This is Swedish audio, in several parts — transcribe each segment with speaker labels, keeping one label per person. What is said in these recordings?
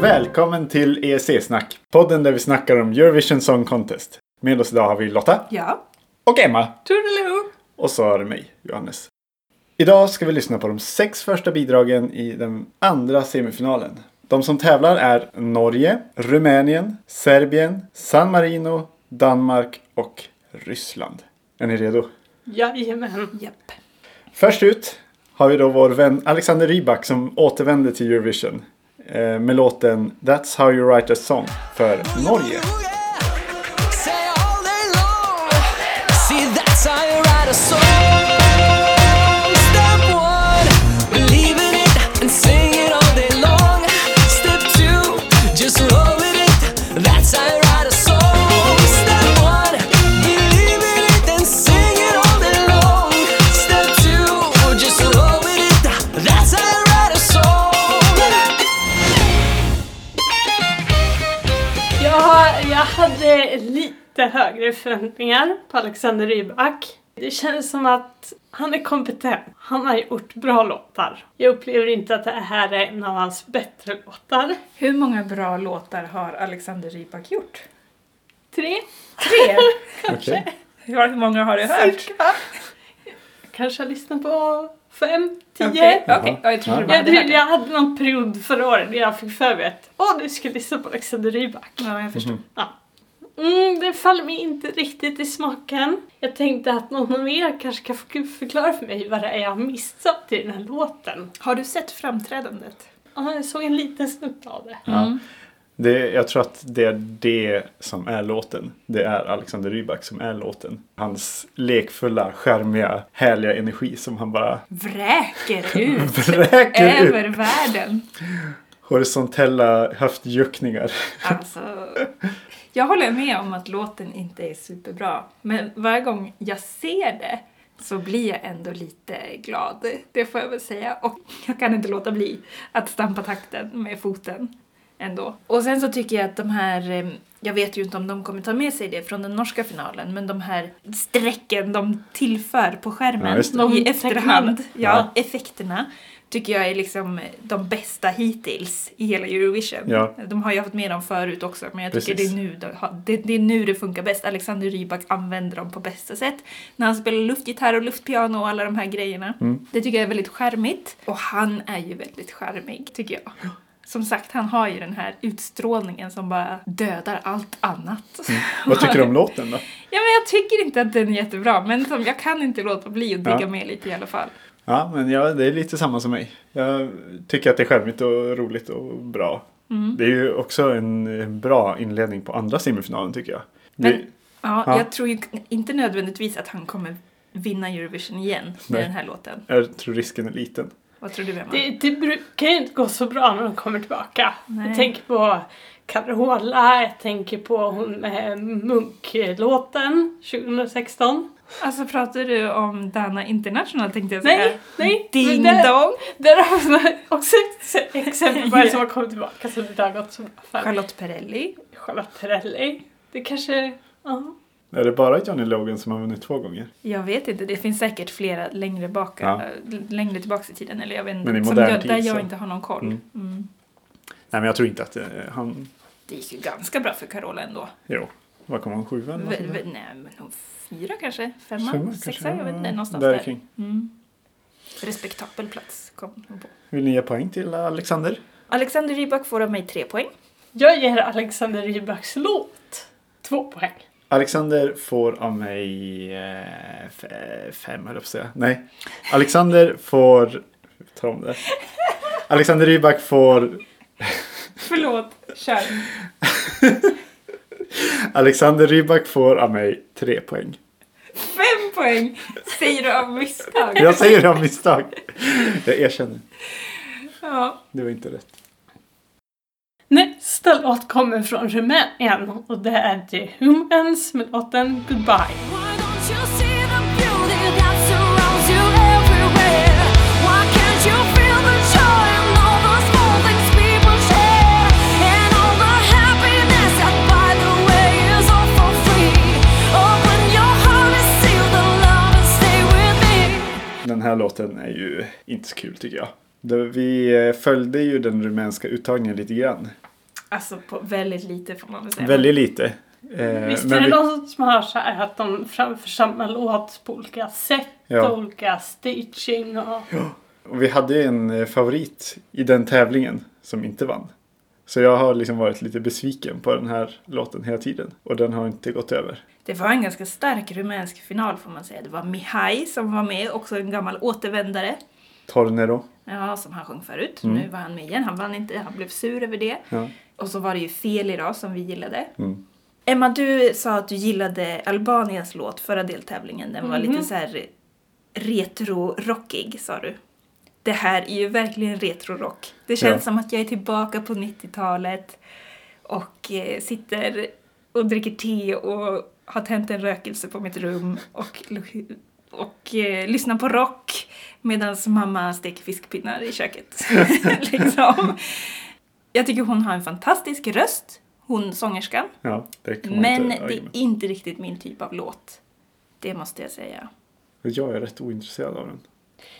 Speaker 1: Välkommen till EEC-snack, podden där vi snackar om Eurovision Song Contest. Med oss idag har vi Lotta
Speaker 2: Ja.
Speaker 1: och Emma
Speaker 2: Toodaloo!
Speaker 1: och så är det mig, Johannes. Idag ska vi lyssna på de sex första bidragen i den andra semifinalen. De som tävlar är Norge, Rumänien, Serbien, San Marino, Danmark och Ryssland. Är ni redo?
Speaker 3: Jajamän.
Speaker 2: Japp.
Speaker 1: Först ut har vi då vår vän Alexander Rybak som återvände till Eurovision eh, med låten That's how you write a song för Norge.
Speaker 4: Say all day long. See, that's how you write a song. Step one, believe in it and sing it all day long. Step two, just roll with it. That's how you write a song. Step one, believe in it and sing it all day long. Step two, just roll with it. That's how you write a song.
Speaker 3: Jag, jag hade lite högre förväntningar på Alexander Rybak. Det känns som att han är kompetent. Han har gjort bra låtar. Jag upplever inte att det här är en av hans bättre låtar.
Speaker 2: Hur många bra låtar har Alexander Rybak gjort?
Speaker 3: Tre.
Speaker 2: Tre!
Speaker 1: Okej.
Speaker 2: Hur många har du hört?
Speaker 3: Kanske jag lyssnar på fem, tio.
Speaker 2: Okej, okej. Ja, jag trodde
Speaker 1: Ja.
Speaker 2: du bara hade
Speaker 3: Jag,
Speaker 2: hört
Speaker 3: jag
Speaker 2: det.
Speaker 3: hade någon period förra året där jag fick för mig att åh, du ska lyssna på Alexander Rybak.
Speaker 2: Ja, jag förstår.
Speaker 3: Mm, det faller mig inte riktigt i smaken. Jag tänkte att någon av er kanske kan förklara för mig vad det är jag har missat i den här låten.
Speaker 2: Har du sett framträdandet?
Speaker 3: Ja, jag såg en liten snutt av det.
Speaker 1: Ja. Det, jag tror att det är det som är låten. Det är Alexander Rybak som är låten. Hans lekfulla, charmiga, härliga energi som han bara
Speaker 2: Vräker ut
Speaker 1: vräker ut.
Speaker 2: över världen.
Speaker 1: Horisontella höftjuckningar.
Speaker 2: Alltså, jag håller med om att låten inte är superbra. Men varje gång jag ser det så blir jag ändå lite glad. Det får jag väl säga. Och jag kan inte låta bli att stampa takten med foten ändå. Och sen så tycker jag att de här, eh, jag vet ju inte om de kommer ta med sig det från den norska finalen, men de här strecken de tillför
Speaker 1: Ja,
Speaker 2: på skärmen
Speaker 1: just det.
Speaker 3: De
Speaker 2: i efterhand.
Speaker 3: tecknarna.
Speaker 2: Ja, effekterna tycker jag är liksom de bästa hittills i hela Eurovision.
Speaker 1: Ja.
Speaker 2: De har ju haft med dem förut också men jag tycker det
Speaker 1: Precis.
Speaker 2: är, nu de, har- det, det är nu det funkar bäst. Alexander Rybak använder dem på bästa sätt. När han spelar luftgitarr och luftpiano och alla de här grejerna.
Speaker 1: Mm.
Speaker 2: Det tycker jag är väldigt charmigt. Och han är ju väldigt charmig tycker jag. Som sagt, han har ju den här utstrålningen som bara dödar allt annat.
Speaker 1: Mm. Vad tycker du om låten då?
Speaker 2: Ja, men jag tycker inte att den är jättebra, men som, jag kan inte låta bli att digga
Speaker 1: Ja.
Speaker 2: med lite i alla fall.
Speaker 1: Ja, men jag, det är lite samma som mig. Jag tycker att det är charmigt och roligt och bra. Det är ju också en bra inledning på andra semifinalen tycker jag.
Speaker 2: Men-
Speaker 1: Det,
Speaker 2: Ja,
Speaker 1: Ja.
Speaker 2: jag tror ju inte nödvändigtvis att han kommer vinna Eurovision igen
Speaker 1: Nej.
Speaker 2: med den här låten.
Speaker 1: jag tror risken är liten.
Speaker 2: Vad tror du Emma?
Speaker 3: Det, det brukar ju inte gå så bra när de kommer tillbaka.
Speaker 2: Nej.
Speaker 3: Jag tänker på Carola, jag tänker på hon med Munk-låten 2016.
Speaker 2: Alltså pratar du om Dana International tänkte jag säga.
Speaker 3: Nej, nej.
Speaker 2: Ding
Speaker 3: men där,
Speaker 2: dong!
Speaker 3: där har vi också ett exempel på en som har kommit tillbaka som det har gått så bra för.
Speaker 2: Charlotte Perrelli.
Speaker 3: Charlotte Perrelli. Det kanske... Ja.
Speaker 1: Är det bara Johnny Logan som har vunnit två gånger?
Speaker 2: Jag vet inte, det finns säkert flera längre, baka,
Speaker 1: Ja.
Speaker 2: äh, längre tillbaka i tiden. Eller jag vet inte,
Speaker 1: Men i
Speaker 2: som
Speaker 1: modern
Speaker 2: jag, där
Speaker 1: tid så-
Speaker 2: jag inte har någon koll.
Speaker 1: Mm.
Speaker 2: Mm.
Speaker 1: Nej, men jag tror inte att eh, han...
Speaker 2: Det gick ju ganska bra för Carola ändå.
Speaker 1: Jo, vad kom han? Sjua eller
Speaker 2: V-
Speaker 1: något sånt
Speaker 2: v-
Speaker 1: där?
Speaker 2: nej, men hon fyra kanske? Femma?
Speaker 1: Femma
Speaker 2: sexa?
Speaker 1: kanske?
Speaker 2: Jag vet inte,
Speaker 1: Ja,
Speaker 2: någonstans
Speaker 1: där
Speaker 2: där.
Speaker 1: kring.
Speaker 2: Mm. Respektabel plats kom hon på.
Speaker 1: Vill ni ge poäng till Alexander?
Speaker 2: Alexander Rybak får av mig tre poäng.
Speaker 3: Jag ger Alexander Rybaks låt två poäng.
Speaker 1: Alexander får av mig eh, f- fem, höll jag på att säga. Nej. Alexander får... Ta om det. Alexander Rybak får...
Speaker 2: Förlåt, kör.
Speaker 1: Alexander Rybak får av mig tre poäng.
Speaker 2: Fem poäng säger du av misstag.
Speaker 1: Jag säger det av misstag. Jag erkänner.
Speaker 2: Ja.
Speaker 1: Det var inte rätt.
Speaker 3: Nästa låt kommer från Rumänien och det är The Humans med låten Goodbye.
Speaker 4: Why don't you see the beauty that surrounds you everywhere? Why can't you feel the joy in all the small things people share? And all the happiness that, by the way, is all for free. Open your heart and see the love and stay with me.
Speaker 1: Den här låten är ju inte så kul tycker jag. Det- Vi eh, följde ju den rumänska uttagningen lite grann.
Speaker 2: Alltså på väldigt lite får man väl säga.
Speaker 1: Väldigt lite. Eh,
Speaker 3: Visst
Speaker 1: men
Speaker 3: är det
Speaker 1: vi-
Speaker 3: någon som har så här att de framför samma låt på olika sätt
Speaker 1: Ja.
Speaker 3: och olika stitching och...
Speaker 1: Och vi hade en eh, favorit i den tävlingen som inte vann. Så jag har liksom varit lite besviken på den här låten hela tiden. Och den har inte gått över.
Speaker 2: Det var en ganska stark rumänsk final får man säga. Det var Mihai som var med, också en gammal återvändare.
Speaker 1: Tornero.
Speaker 2: Ja, som han sjöng förut. Nu var han med igen. Han vann inte, han blev sur över det.
Speaker 1: Ja.
Speaker 2: Och så var det ju fel idag som vi gillade.
Speaker 1: Mm.
Speaker 2: Emma, du sa att du gillade Albaniens låt förra deltävlingen. Den var lite så här retro-rockig, sa du. Det här är ju verkligen retro-rock. Det känns
Speaker 1: Ja.
Speaker 2: som att jag är tillbaka på 90-talet och eh, sitter och dricker te och har tänt en rökelse på mitt rum och, och eh, lyssnar på rock medan mamma steker fiskpinnar i köket. liksom. Jag tycker hon har en fantastisk röst, hon sångerskan.
Speaker 1: Ja, det kan man
Speaker 2: Men det
Speaker 1: inte
Speaker 2: är
Speaker 1: argumentera.
Speaker 2: inte riktigt min typ av låt. Det måste jag säga.
Speaker 1: Och Jag är rätt ointresserad av den.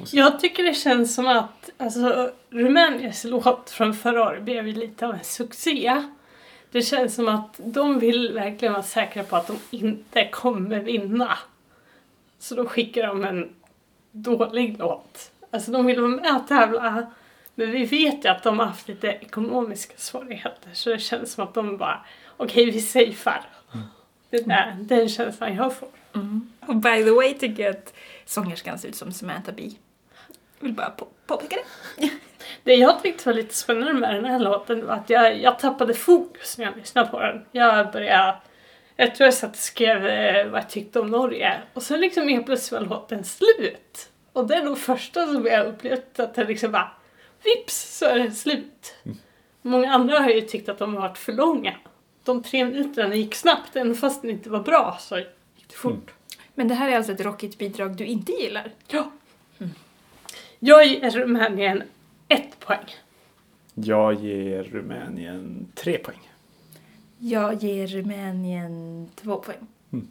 Speaker 3: Alltså, Jag tycker det känns som att alltså, Rumäniens låt från förra året blev ju lite av en succé. Det känns som att de vill verkligen vara säkra på att de inte kommer vinna. Så då skickar de en dålig låt. Alltså de vill vara med och tävla. Men vi vet ju att de har haft lite ekonomiska svårigheter så det känns som att de bara okej vi safear. Det där, den känslan jag får.
Speaker 2: Och by the way tycker jag att sångerskan ser ut som Samantha Bee. Jag vill bara på- påpeka det.
Speaker 3: Det jag tyckte var lite spännande med den här låten var att jag, jag tappade fokus när jag lyssnade på den. Jag började... Jag tror jag satt och skrev eh, vad jag tyckte om Norge och sen liksom helt plötsligt var låten slut. Och det är nog första som jag upplevt att den liksom bara vips så är den slut. Många andra har ju tyckt att de har varit för långa. De tre minuterna gick snabbt, även fast den inte var bra så gick det fort.
Speaker 2: Men det här är alltså ett rockigt bidrag du inte gillar.
Speaker 3: Ja. Jag ger Rumänien ett poäng.
Speaker 1: Jag ger Rumänien tre poäng.
Speaker 2: Jag ger Rumänien två poäng.
Speaker 1: Mm.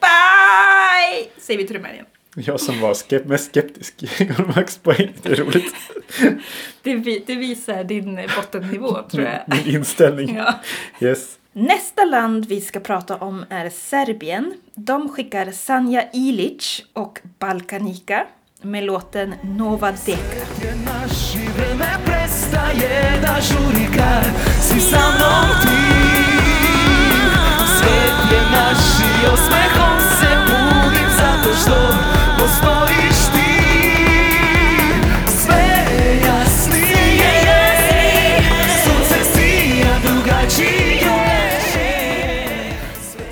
Speaker 2: Goodbye! Säger vi till Rumänien.
Speaker 1: Jag som var skep- mest skeptisk gav max poäng. Det är roligt.
Speaker 2: Det, vi- det visar din eh, bottennivå tror jag.
Speaker 1: Min inställning.
Speaker 2: Ja.
Speaker 1: Yes.
Speaker 2: Nästa land vi ska prata om är Serbien. De skickar Sanja Ilic och Balkanika med låten Nova Deka.
Speaker 4: je naš i vreme prestaje da žuri kad si sa mnom ti Svet je naš i osmehom se budim zato što postojiš ti Sve je jasnije, sunce sija drugačije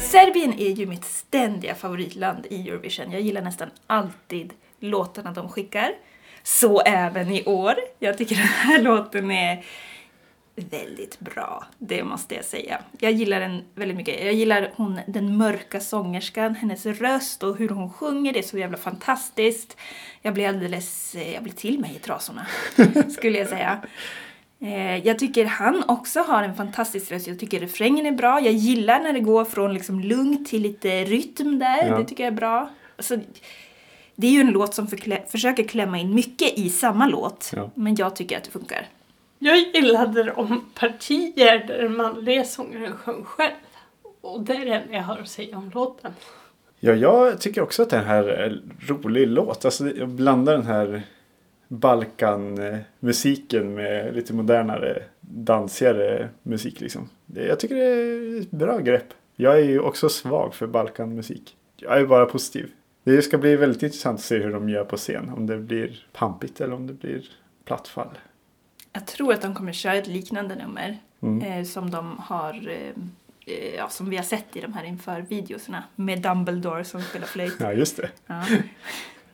Speaker 2: Serbien är ju mitt ständiga favoritland i Eurovision. Jag gillar nästan alltid låtarna de skickar. Så även i år. Jag tycker den här låten är väldigt bra, det måste jag säga. Jag gillar den väldigt mycket. Jag gillar hon, den mörka sångerskan, hennes röst och hur hon sjunger. Det är så jävla fantastiskt. Jag blir alldeles... eh, Jag blir till mig i trasorna, skulle jag säga. Eh, Jag tycker han också har en fantastisk röst. Jag tycker refrängen är bra. Jag gillar när det går från liksom lugnt till lite rytm där.
Speaker 1: Ja.
Speaker 2: Det tycker jag är bra. Alltså, det är ju en låt som förklä- försöker klämma in mycket i samma låt.
Speaker 1: Ja.
Speaker 2: Men jag tycker att det funkar.
Speaker 3: Jag gillade det om partier där den manliga sångaren sjöng själv. Och det är det enda jag har att säga om låten.
Speaker 1: Ja, jag tycker också att den här är en rolig låt. Alltså, jag blandar den här Balkan-musiken med lite modernare, dansigare musik. Liksom. Det- Jag tycker det är ett bra grepp. Jag är ju också svag för Balkan-musik. Jag är bara positiv. Det ska bli väldigt intressant att se hur de gör på scen. Om det blir pampigt eller om det blir plattfall.
Speaker 2: Jag tror att de kommer köra ett liknande nummer eh, som de har eh, eh, ja, som vi har sett i de här inför videoserna med Dumbledore som spelar flöjt.
Speaker 1: Ja, just det.
Speaker 2: Ja.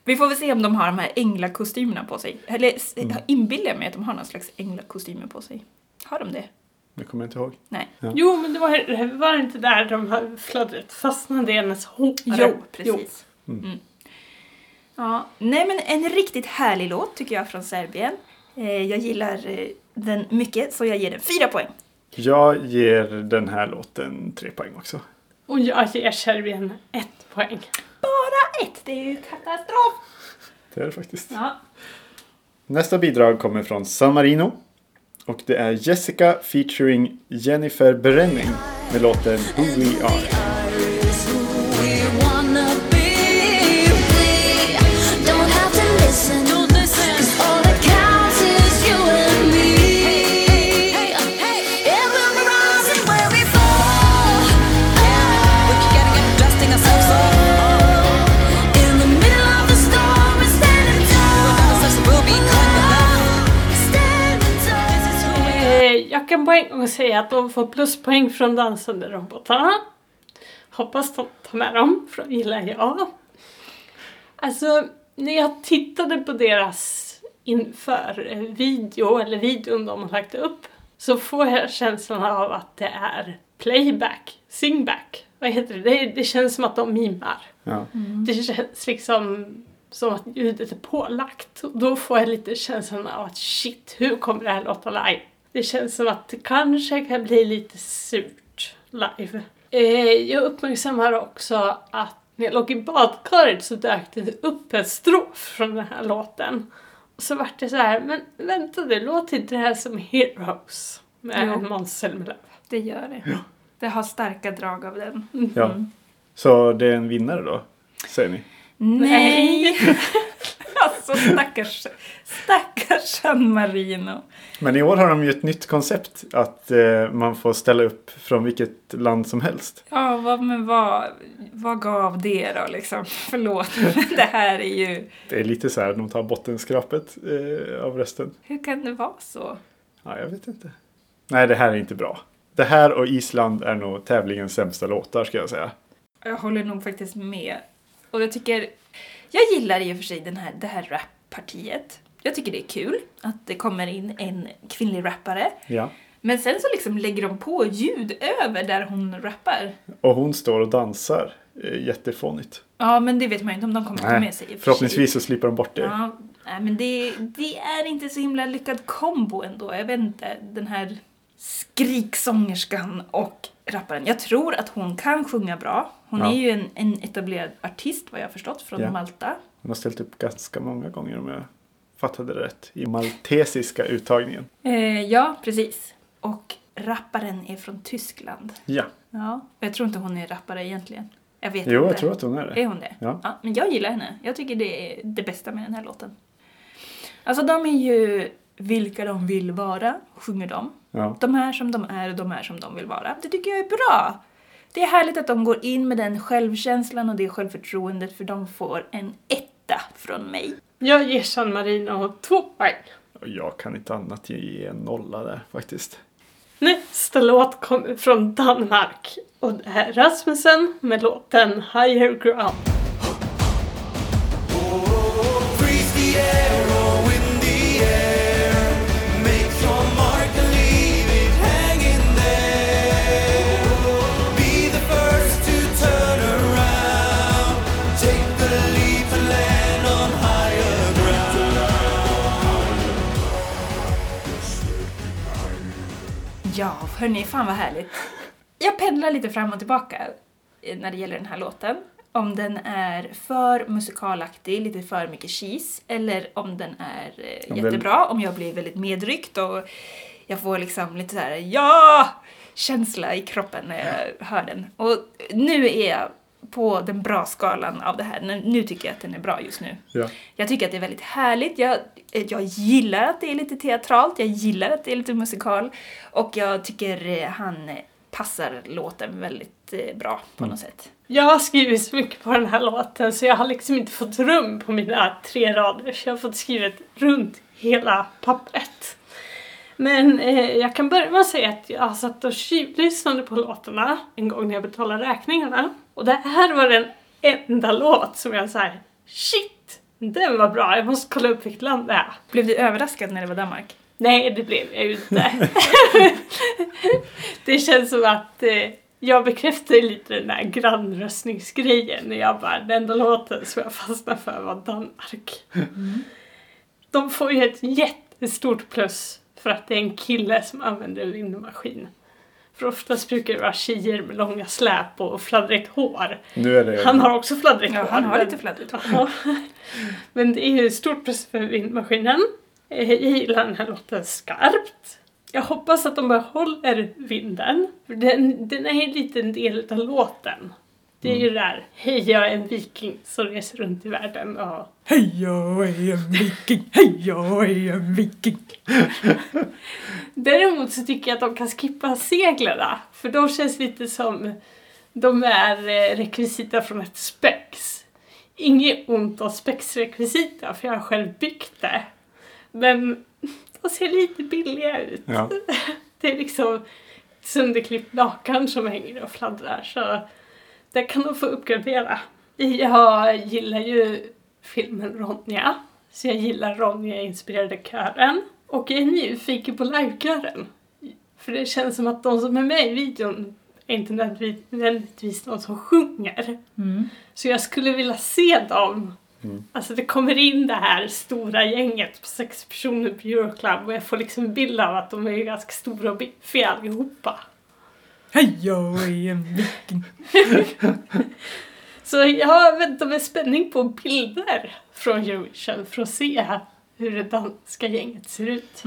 Speaker 2: Vi får väl se om de har de här änglakostymerna på sig. Eller s- jag inbillar mig att de har någon slags änglakostymer på sig. Har de det?
Speaker 1: Det kommer jag inte ihåg.
Speaker 2: Nej.
Speaker 1: Ja.
Speaker 3: Jo, men det var, var det inte där de här fladdret fastnade i hennes hår?
Speaker 2: Jo, precis. Mm. Ja, nej men en riktigt härlig låt tycker jag från Serbien. Eh, jag gillar eh, den mycket så jag ger den fyra poäng.
Speaker 1: Jag ger den här låten tre poäng också.
Speaker 3: Och jag ger Serbien ett poäng.
Speaker 2: Bara ett! Det är ju katastrof!
Speaker 1: Det är det faktiskt.
Speaker 2: Ja.
Speaker 1: Nästa bidrag kommer från San Marino. Och det är Jessica featuring Jennifer Brenning med låten Who We Are.
Speaker 3: Eh, Jag kan på en gång säga att de får pluspoäng från dansande robotarna. Hoppas de tar med dem, för de gillar jag. Alltså, när jag tittade på deras inför eh, video, eller videon de har lagt upp, så får jag känslan av att det är playback, singback. Vad heter det? Det, det känns som att de mimar.
Speaker 1: Ja.
Speaker 3: Det känns liksom som att ljudet är pålagt. Och då får jag lite känslan av att shit, hur kommer det här låta live? Det känns som att det kanske kan bli lite surt live. Eh, jag uppmärksammar också att när jag låg i badkaret så dök det upp en strof från den här låten. Och så vart det så här, men vänta det låter inte det här som Heroes med
Speaker 2: Jo.
Speaker 3: Måns Zelmerlöw?
Speaker 2: Det gör det. Det har starka drag av den.
Speaker 1: ja. Så det är en vinnare då, säger ni?
Speaker 2: Nej! alltså stackars, stackars San Marino.
Speaker 1: Men i år har de ju ett nytt koncept att eh, man får ställa upp från vilket land som helst.
Speaker 2: Ja, vad, men vad, vad gav det då liksom? Förlåt, men det här är ju...
Speaker 1: Det är lite så här, de tar bottenskrapet eh, av rösten.
Speaker 2: Hur kan det vara så?
Speaker 1: Ja, jag vet inte. Nej, det här är inte bra. Det här och Island är nog tävlingens sämsta låtar ska jag säga.
Speaker 2: Jag håller nog faktiskt med. Och jag tycker... Jag gillar i och för sig den här, det här rappartiet. Jag tycker det är kul att det kommer in en kvinnlig rappare.
Speaker 1: Ja.
Speaker 2: Men sen så liksom lägger de på ljud över där hon rappar.
Speaker 1: Och hon står och dansar eh, jättefånigt.
Speaker 2: Ja, men det vet man ju inte om de kommer ta med sig. i och för sig.
Speaker 1: förhoppningsvis så slipper de bort det.
Speaker 2: Ja, nej, men det, det är inte så himla lyckad kombo ändå. Jag vet inte, den här skriksångerskan och rapparen. Jag tror att hon kan sjunga bra. Hon
Speaker 1: Ja.
Speaker 2: är ju en, en etablerad artist vad jag har förstått från
Speaker 1: Ja.
Speaker 2: Malta.
Speaker 1: Hon har ställt upp ganska många gånger om jag fattade det rätt. I maltesiska uttagningen.
Speaker 2: Eh, ja, precis. Och rapparen är från Tyskland.
Speaker 1: Ja,
Speaker 2: Ja. Jag tror inte hon är rappare egentligen. Jag vet
Speaker 1: jo
Speaker 2: inte.
Speaker 1: jag tror att hon är det.
Speaker 2: Är hon det?
Speaker 1: Ja.
Speaker 2: Men jag gillar henne. Jag tycker det är det bästa med den här låten. Alltså de är ju vilka de vill vara, sjunger de.
Speaker 1: Ja.
Speaker 2: De är som de är och de är som de vill vara. Det tycker jag är bra. Det är härligt att de går in med den självkänslan och det självförtroendet för de får en etta från mig.
Speaker 3: Jag ger San Marino två poäng.
Speaker 1: Och Jag kan inte annat ge en nolla där faktiskt.
Speaker 3: Nästa låt kommer från Danmark och det är Rasmussen med låten Higher Ground.
Speaker 4: Freeze the arrow in the air. Make your mark and leave it hanging there. Be the first to turn around. Take the leap and land on higher ground.
Speaker 2: Ja, hörni, fan vad härligt. Jag pendlar lite fram och tillbaka eh, när det gäller den här låten. Om den är för musikalaktig, lite för mycket cheese, eller om den är eh,
Speaker 1: Om den-
Speaker 2: jättebra, om jag blir väldigt medryckt och jag får liksom lite så här ja-känsla i kroppen när jag hör den. Och nu är jag på den bra-skalan av det här. Nu- Nu tycker jag att den är bra just nu.
Speaker 1: Ja.
Speaker 2: Jag tycker att det är väldigt härligt. Jag, eh, jag gillar att det är lite teatralt, jag gillar att det är lite musikal och jag tycker eh, han eh, passar låten väldigt eh, bra på något
Speaker 1: Mm.
Speaker 2: sätt.
Speaker 3: Jag har skrivit så mycket på den här låten så jag har liksom inte fått rum på mina tre rader så jag har fått skrivit runt hela pappret. Men eh, jag kan börja med att säga att jag satt och tjuvlyssnade på låtarna en gång när jag betalade räkningarna. Och det här var den enda låt som jag såhär, shit, den var bra, jag måste kolla upp vilket land det är.
Speaker 2: Blev du överraskad när det var Danmark?
Speaker 3: Nej, det blev jag ju inte. det känns som att eh, jag bekräftade lite den där grannröstningsgrejen när jag bara, den enda låten som jag fastnade för var Danmark. De får ju ett jättestort plus för att det är en kille som använder en lindemaskin. För oftast brukar det vara tjejer med långa släp och fladdrigt hår.
Speaker 1: Nu är det...
Speaker 3: Han har också fladdrigt
Speaker 2: Ja,
Speaker 3: hår.
Speaker 2: han har
Speaker 3: men-
Speaker 2: lite fladdrigt hår.
Speaker 3: Ja. Men det är ju stort plus för vindmaskinen. Eh, Jag gillar den här låten skarpt. Jag hoppas att de behåller vinden. För den, den är ju en liten del av låten. Det är
Speaker 2: Mm.
Speaker 3: ju det där, hej jag är en viking som reser runt i världen och...
Speaker 2: Hej jag är en viking, hej jag är en viking.
Speaker 3: Däremot så tycker jag att de kan skippa seglarna. För de känns lite som... De är eh, rekvisita från ett spex. Inget ont om spexrekvisita, för jag har själv byggt det. Men de ser lite billiga ut.
Speaker 1: Ja.
Speaker 3: Det är liksom ett sönderklippt lakan som hänger och fladdrar. Så det kan de få uppgradera. Jag gillar ju filmen Ronja. Så jag gillar Ronja-inspirerade kören. Och jag är nyfiken på livekören. För det känns som att de som är med i videon är inte nödvändigtvis- nödvändigtvis de som sjunger.
Speaker 2: Mm.
Speaker 3: Så jag skulle vilja se dem. Alltså det kommer in det här stora gänget på sex personer på Euroclub och jag får liksom en bild av att de är ju ganska stora och biffiga allihopa.
Speaker 2: Hej jag är en viking.
Speaker 3: Så jag väntar med spänning på bilder från Eurovision för att se hur det danska gänget ser ut.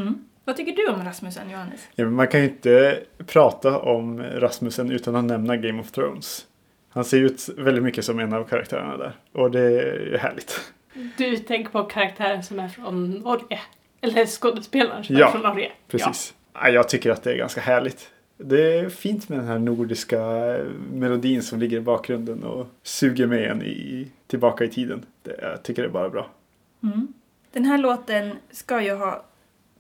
Speaker 2: Vad tycker du om Rasmussen, Johannes?
Speaker 1: Ja, men man kan ju inte prata om Rasmussen utan att nämna Game of Thrones. Han ser ut väldigt mycket som en av karaktärerna där. Och det är härligt.
Speaker 3: Du tänker på karaktären som är från Norge? Eller skådespelaren som
Speaker 1: Ja,
Speaker 3: är från Norge?
Speaker 1: Precis. Ja. Jag tycker att det är ganska härligt. Det är fint med den här nordiska eh, melodin som ligger i bakgrunden och suger med en i, tillbaka i tiden. Det, jag tycker det är bara bra.
Speaker 2: Den här låten ska ju ha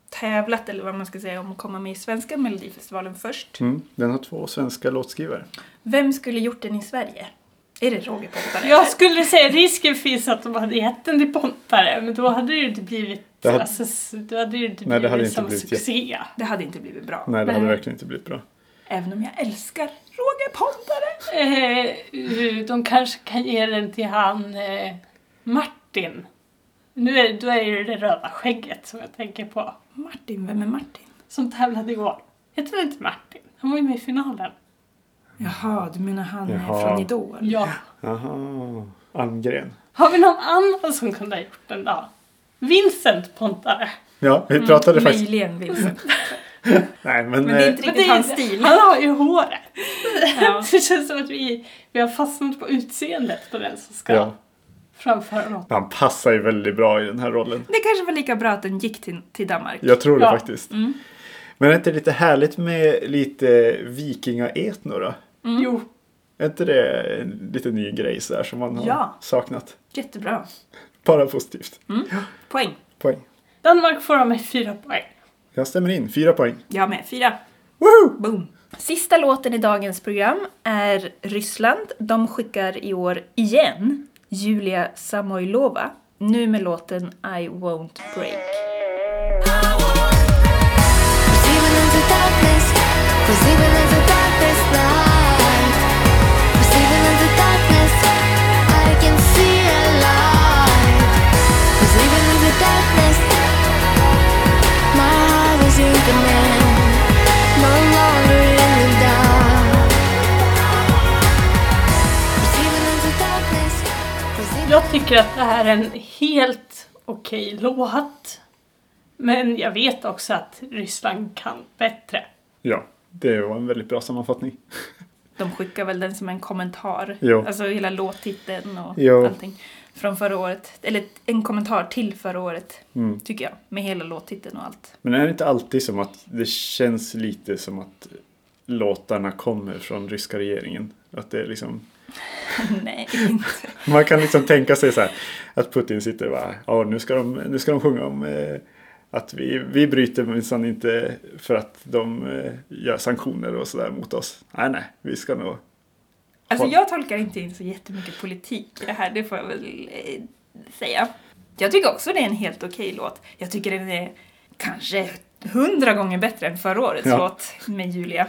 Speaker 2: tävlat, eller vad man ska säga, om att komma med i svenska melodifestivalen först.
Speaker 1: Mm. Den har två svenska låtskrivare.
Speaker 2: Vem skulle gjort den i Sverige? Är det Roger
Speaker 3: Ja.
Speaker 2: Pontare?
Speaker 3: Jag skulle säga risken finns att de hade gett den till Pontare, men då hade det ju inte blivit,
Speaker 1: Det hade-
Speaker 3: alltså, s- då hade det ju inte
Speaker 1: Nej, det
Speaker 3: blivit
Speaker 1: hade inte
Speaker 3: samma
Speaker 1: blivit
Speaker 3: succé.
Speaker 2: Det hade inte blivit bra.
Speaker 1: Nej, det hade
Speaker 3: Nej.
Speaker 1: verkligen inte blivit bra.
Speaker 2: Även om jag älskar Roger Pontare!
Speaker 3: Eh, de kanske kan ge den till han eh, Martin. Nu är, då är det det röda skägget som jag tänker på.
Speaker 2: Martin, vem är Martin?
Speaker 3: Som tävlade igår. Jag tror inte Martin. Han var ju med i finalen.
Speaker 2: Jaha, du menar han är
Speaker 1: Jaha.
Speaker 2: från Idol?
Speaker 3: Ja.
Speaker 1: Aha. Almgren.
Speaker 3: Har vi någon annan som kunde ha gjort den då? Vincent Pontare.
Speaker 1: Ja, vi pratade faktiskt...
Speaker 2: Möjligen Vincent.
Speaker 1: Nej, men...
Speaker 2: Men det
Speaker 1: eh,
Speaker 2: är inte riktigt hans stil.
Speaker 3: Han har ju håret.
Speaker 2: Ja.
Speaker 3: Det känns som att vi, vi har fastnat på utseendet på den som ska
Speaker 1: ja.
Speaker 3: framföra något.
Speaker 1: Han passar ju väldigt bra i den här rollen.
Speaker 2: Det kanske var lika bra att den gick till, till Danmark.
Speaker 1: Jag tror det
Speaker 3: Ja.
Speaker 1: faktiskt. Men är inte det lite härligt med lite vikingaetno då?
Speaker 2: Mm.
Speaker 3: Jo,
Speaker 1: Är inte det en lite ny grej så här som man har
Speaker 2: Ja.
Speaker 1: saknat?
Speaker 2: Jättebra.
Speaker 1: Bara positivt.
Speaker 2: Poäng.
Speaker 1: Poäng.
Speaker 3: Danmark får av mig fyra poäng.
Speaker 1: Jag stämmer in. Fyra poäng.
Speaker 2: Jag med. Fyra.
Speaker 1: Woohoo!
Speaker 2: Boom. Sista låten i dagens program är Ryssland. De skickar i år igen Julia Samoilova. Nu med låten I won't break.
Speaker 5: Cause even in the darkness, cause even in the darkest night, cause even in the darkness, I can see a light. Cause even in the darkness, my heart is in command, no longer in the dark. Cause even in the darkness, cause even
Speaker 3: Jag tycker att det här är en helt okej låt. Men jag vet också att Ryssland kan bättre.
Speaker 1: Ja, det var en väldigt bra sammanfattning.
Speaker 2: De skickar väl den som en kommentar.
Speaker 1: Jo.
Speaker 2: Alltså hela låttiteln och
Speaker 1: Jo.
Speaker 2: allting. Från förra året. Eller en kommentar till förra året.
Speaker 1: Mm.
Speaker 2: Tycker jag. Med hela låttiteln och allt.
Speaker 1: Men är det inte alltid som att det känns lite som att låtarna kommer från ryska regeringen? Att det är liksom...
Speaker 2: Nej, inte.
Speaker 1: Man kan liksom tänka sig så här att Putin sitter och bara, ja nu ska de, nu ska de sjunga om eh, att vi, vi bryter minsann inte för att de eh, gör sanktioner och sådär mot oss. Nej, nej, vi ska nog.
Speaker 2: Alltså
Speaker 1: Håll-
Speaker 2: jag tolkar inte in så jättemycket politik i det här, det får jag väl eh, säga. Jag tycker också det är en helt okej låt. Jag tycker den är kanske hundra gånger bättre än förra årets
Speaker 1: Ja.
Speaker 2: låt med Julia.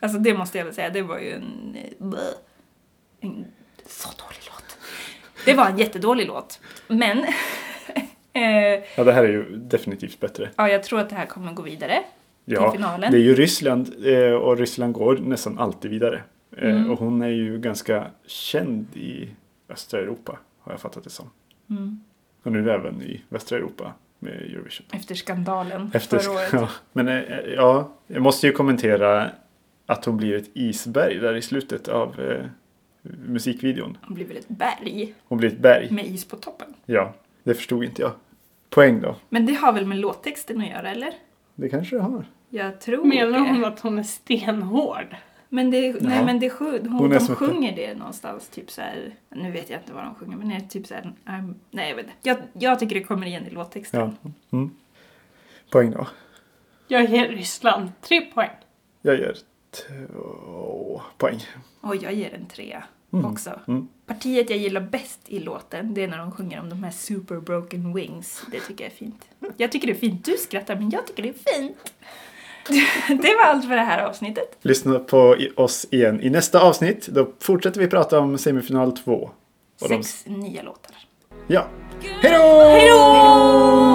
Speaker 2: Alltså det måste jag väl säga, det var ju en... eh, bleh. En så dålig låt. Det var en jättedålig låt. Men... eh,
Speaker 1: Ja, det här är ju definitivt bättre.
Speaker 2: ja, jag tror att det här kommer gå vidare.
Speaker 1: Ja,
Speaker 2: Till finalen.
Speaker 1: det är ju Ryssland eh, och Ryssland går nästan alltid vidare. Eh,
Speaker 2: Mm.
Speaker 1: Och hon är ju ganska känd
Speaker 2: Mm.
Speaker 1: i östra Europa, har jag fattat det som. Och nu även i västra Europa. med Eurovision.
Speaker 2: Efter skandalen
Speaker 1: Efter,
Speaker 2: förra året.
Speaker 1: ja, men eh, ja, jag måste ju kommentera att hon blir ett isberg där i slutet av eh, musikvideon.
Speaker 2: Hon blir väl ett berg
Speaker 1: Hon blir ett berg.
Speaker 2: med is på toppen.
Speaker 1: Ja, det förstod inte jag. Poäng då?
Speaker 2: Men det har väl med låttexten att göra, eller?
Speaker 1: Det kanske det har.
Speaker 2: Jag tror
Speaker 3: Menar hon
Speaker 2: det.
Speaker 3: att hon är stenhård?
Speaker 2: Men det, nej,
Speaker 1: Ja.
Speaker 2: men det sju- hon,
Speaker 1: Hon är
Speaker 2: de
Speaker 1: som ett-
Speaker 2: sjunger det någonstans, typ så här. Nu vet jag inte vad de sjunger, men det är typ så här. I'm, nej, jag vet inte. Jag, jag tycker det kommer igen i låttexten.
Speaker 1: Ja. Mm. Poäng då?
Speaker 3: Jag ger Ryssland tre poäng.
Speaker 1: Jag ger två poäng.
Speaker 2: Och jag ger en trea också.
Speaker 1: Mm.
Speaker 2: Partiet jag gillar bäst i låten, det är när de sjunger om de här super broken wings. Det tycker jag är fint. Jag tycker det är fint. Du skrattar, men jag tycker det är fint. Det var allt för det här avsnittet.
Speaker 1: Lyssna på i- oss igen i nästa avsnitt. Då fortsätter vi prata om semifinal 2. Och de-
Speaker 2: Sex nya låtar.
Speaker 1: Ja. Hej då!
Speaker 2: Hej då!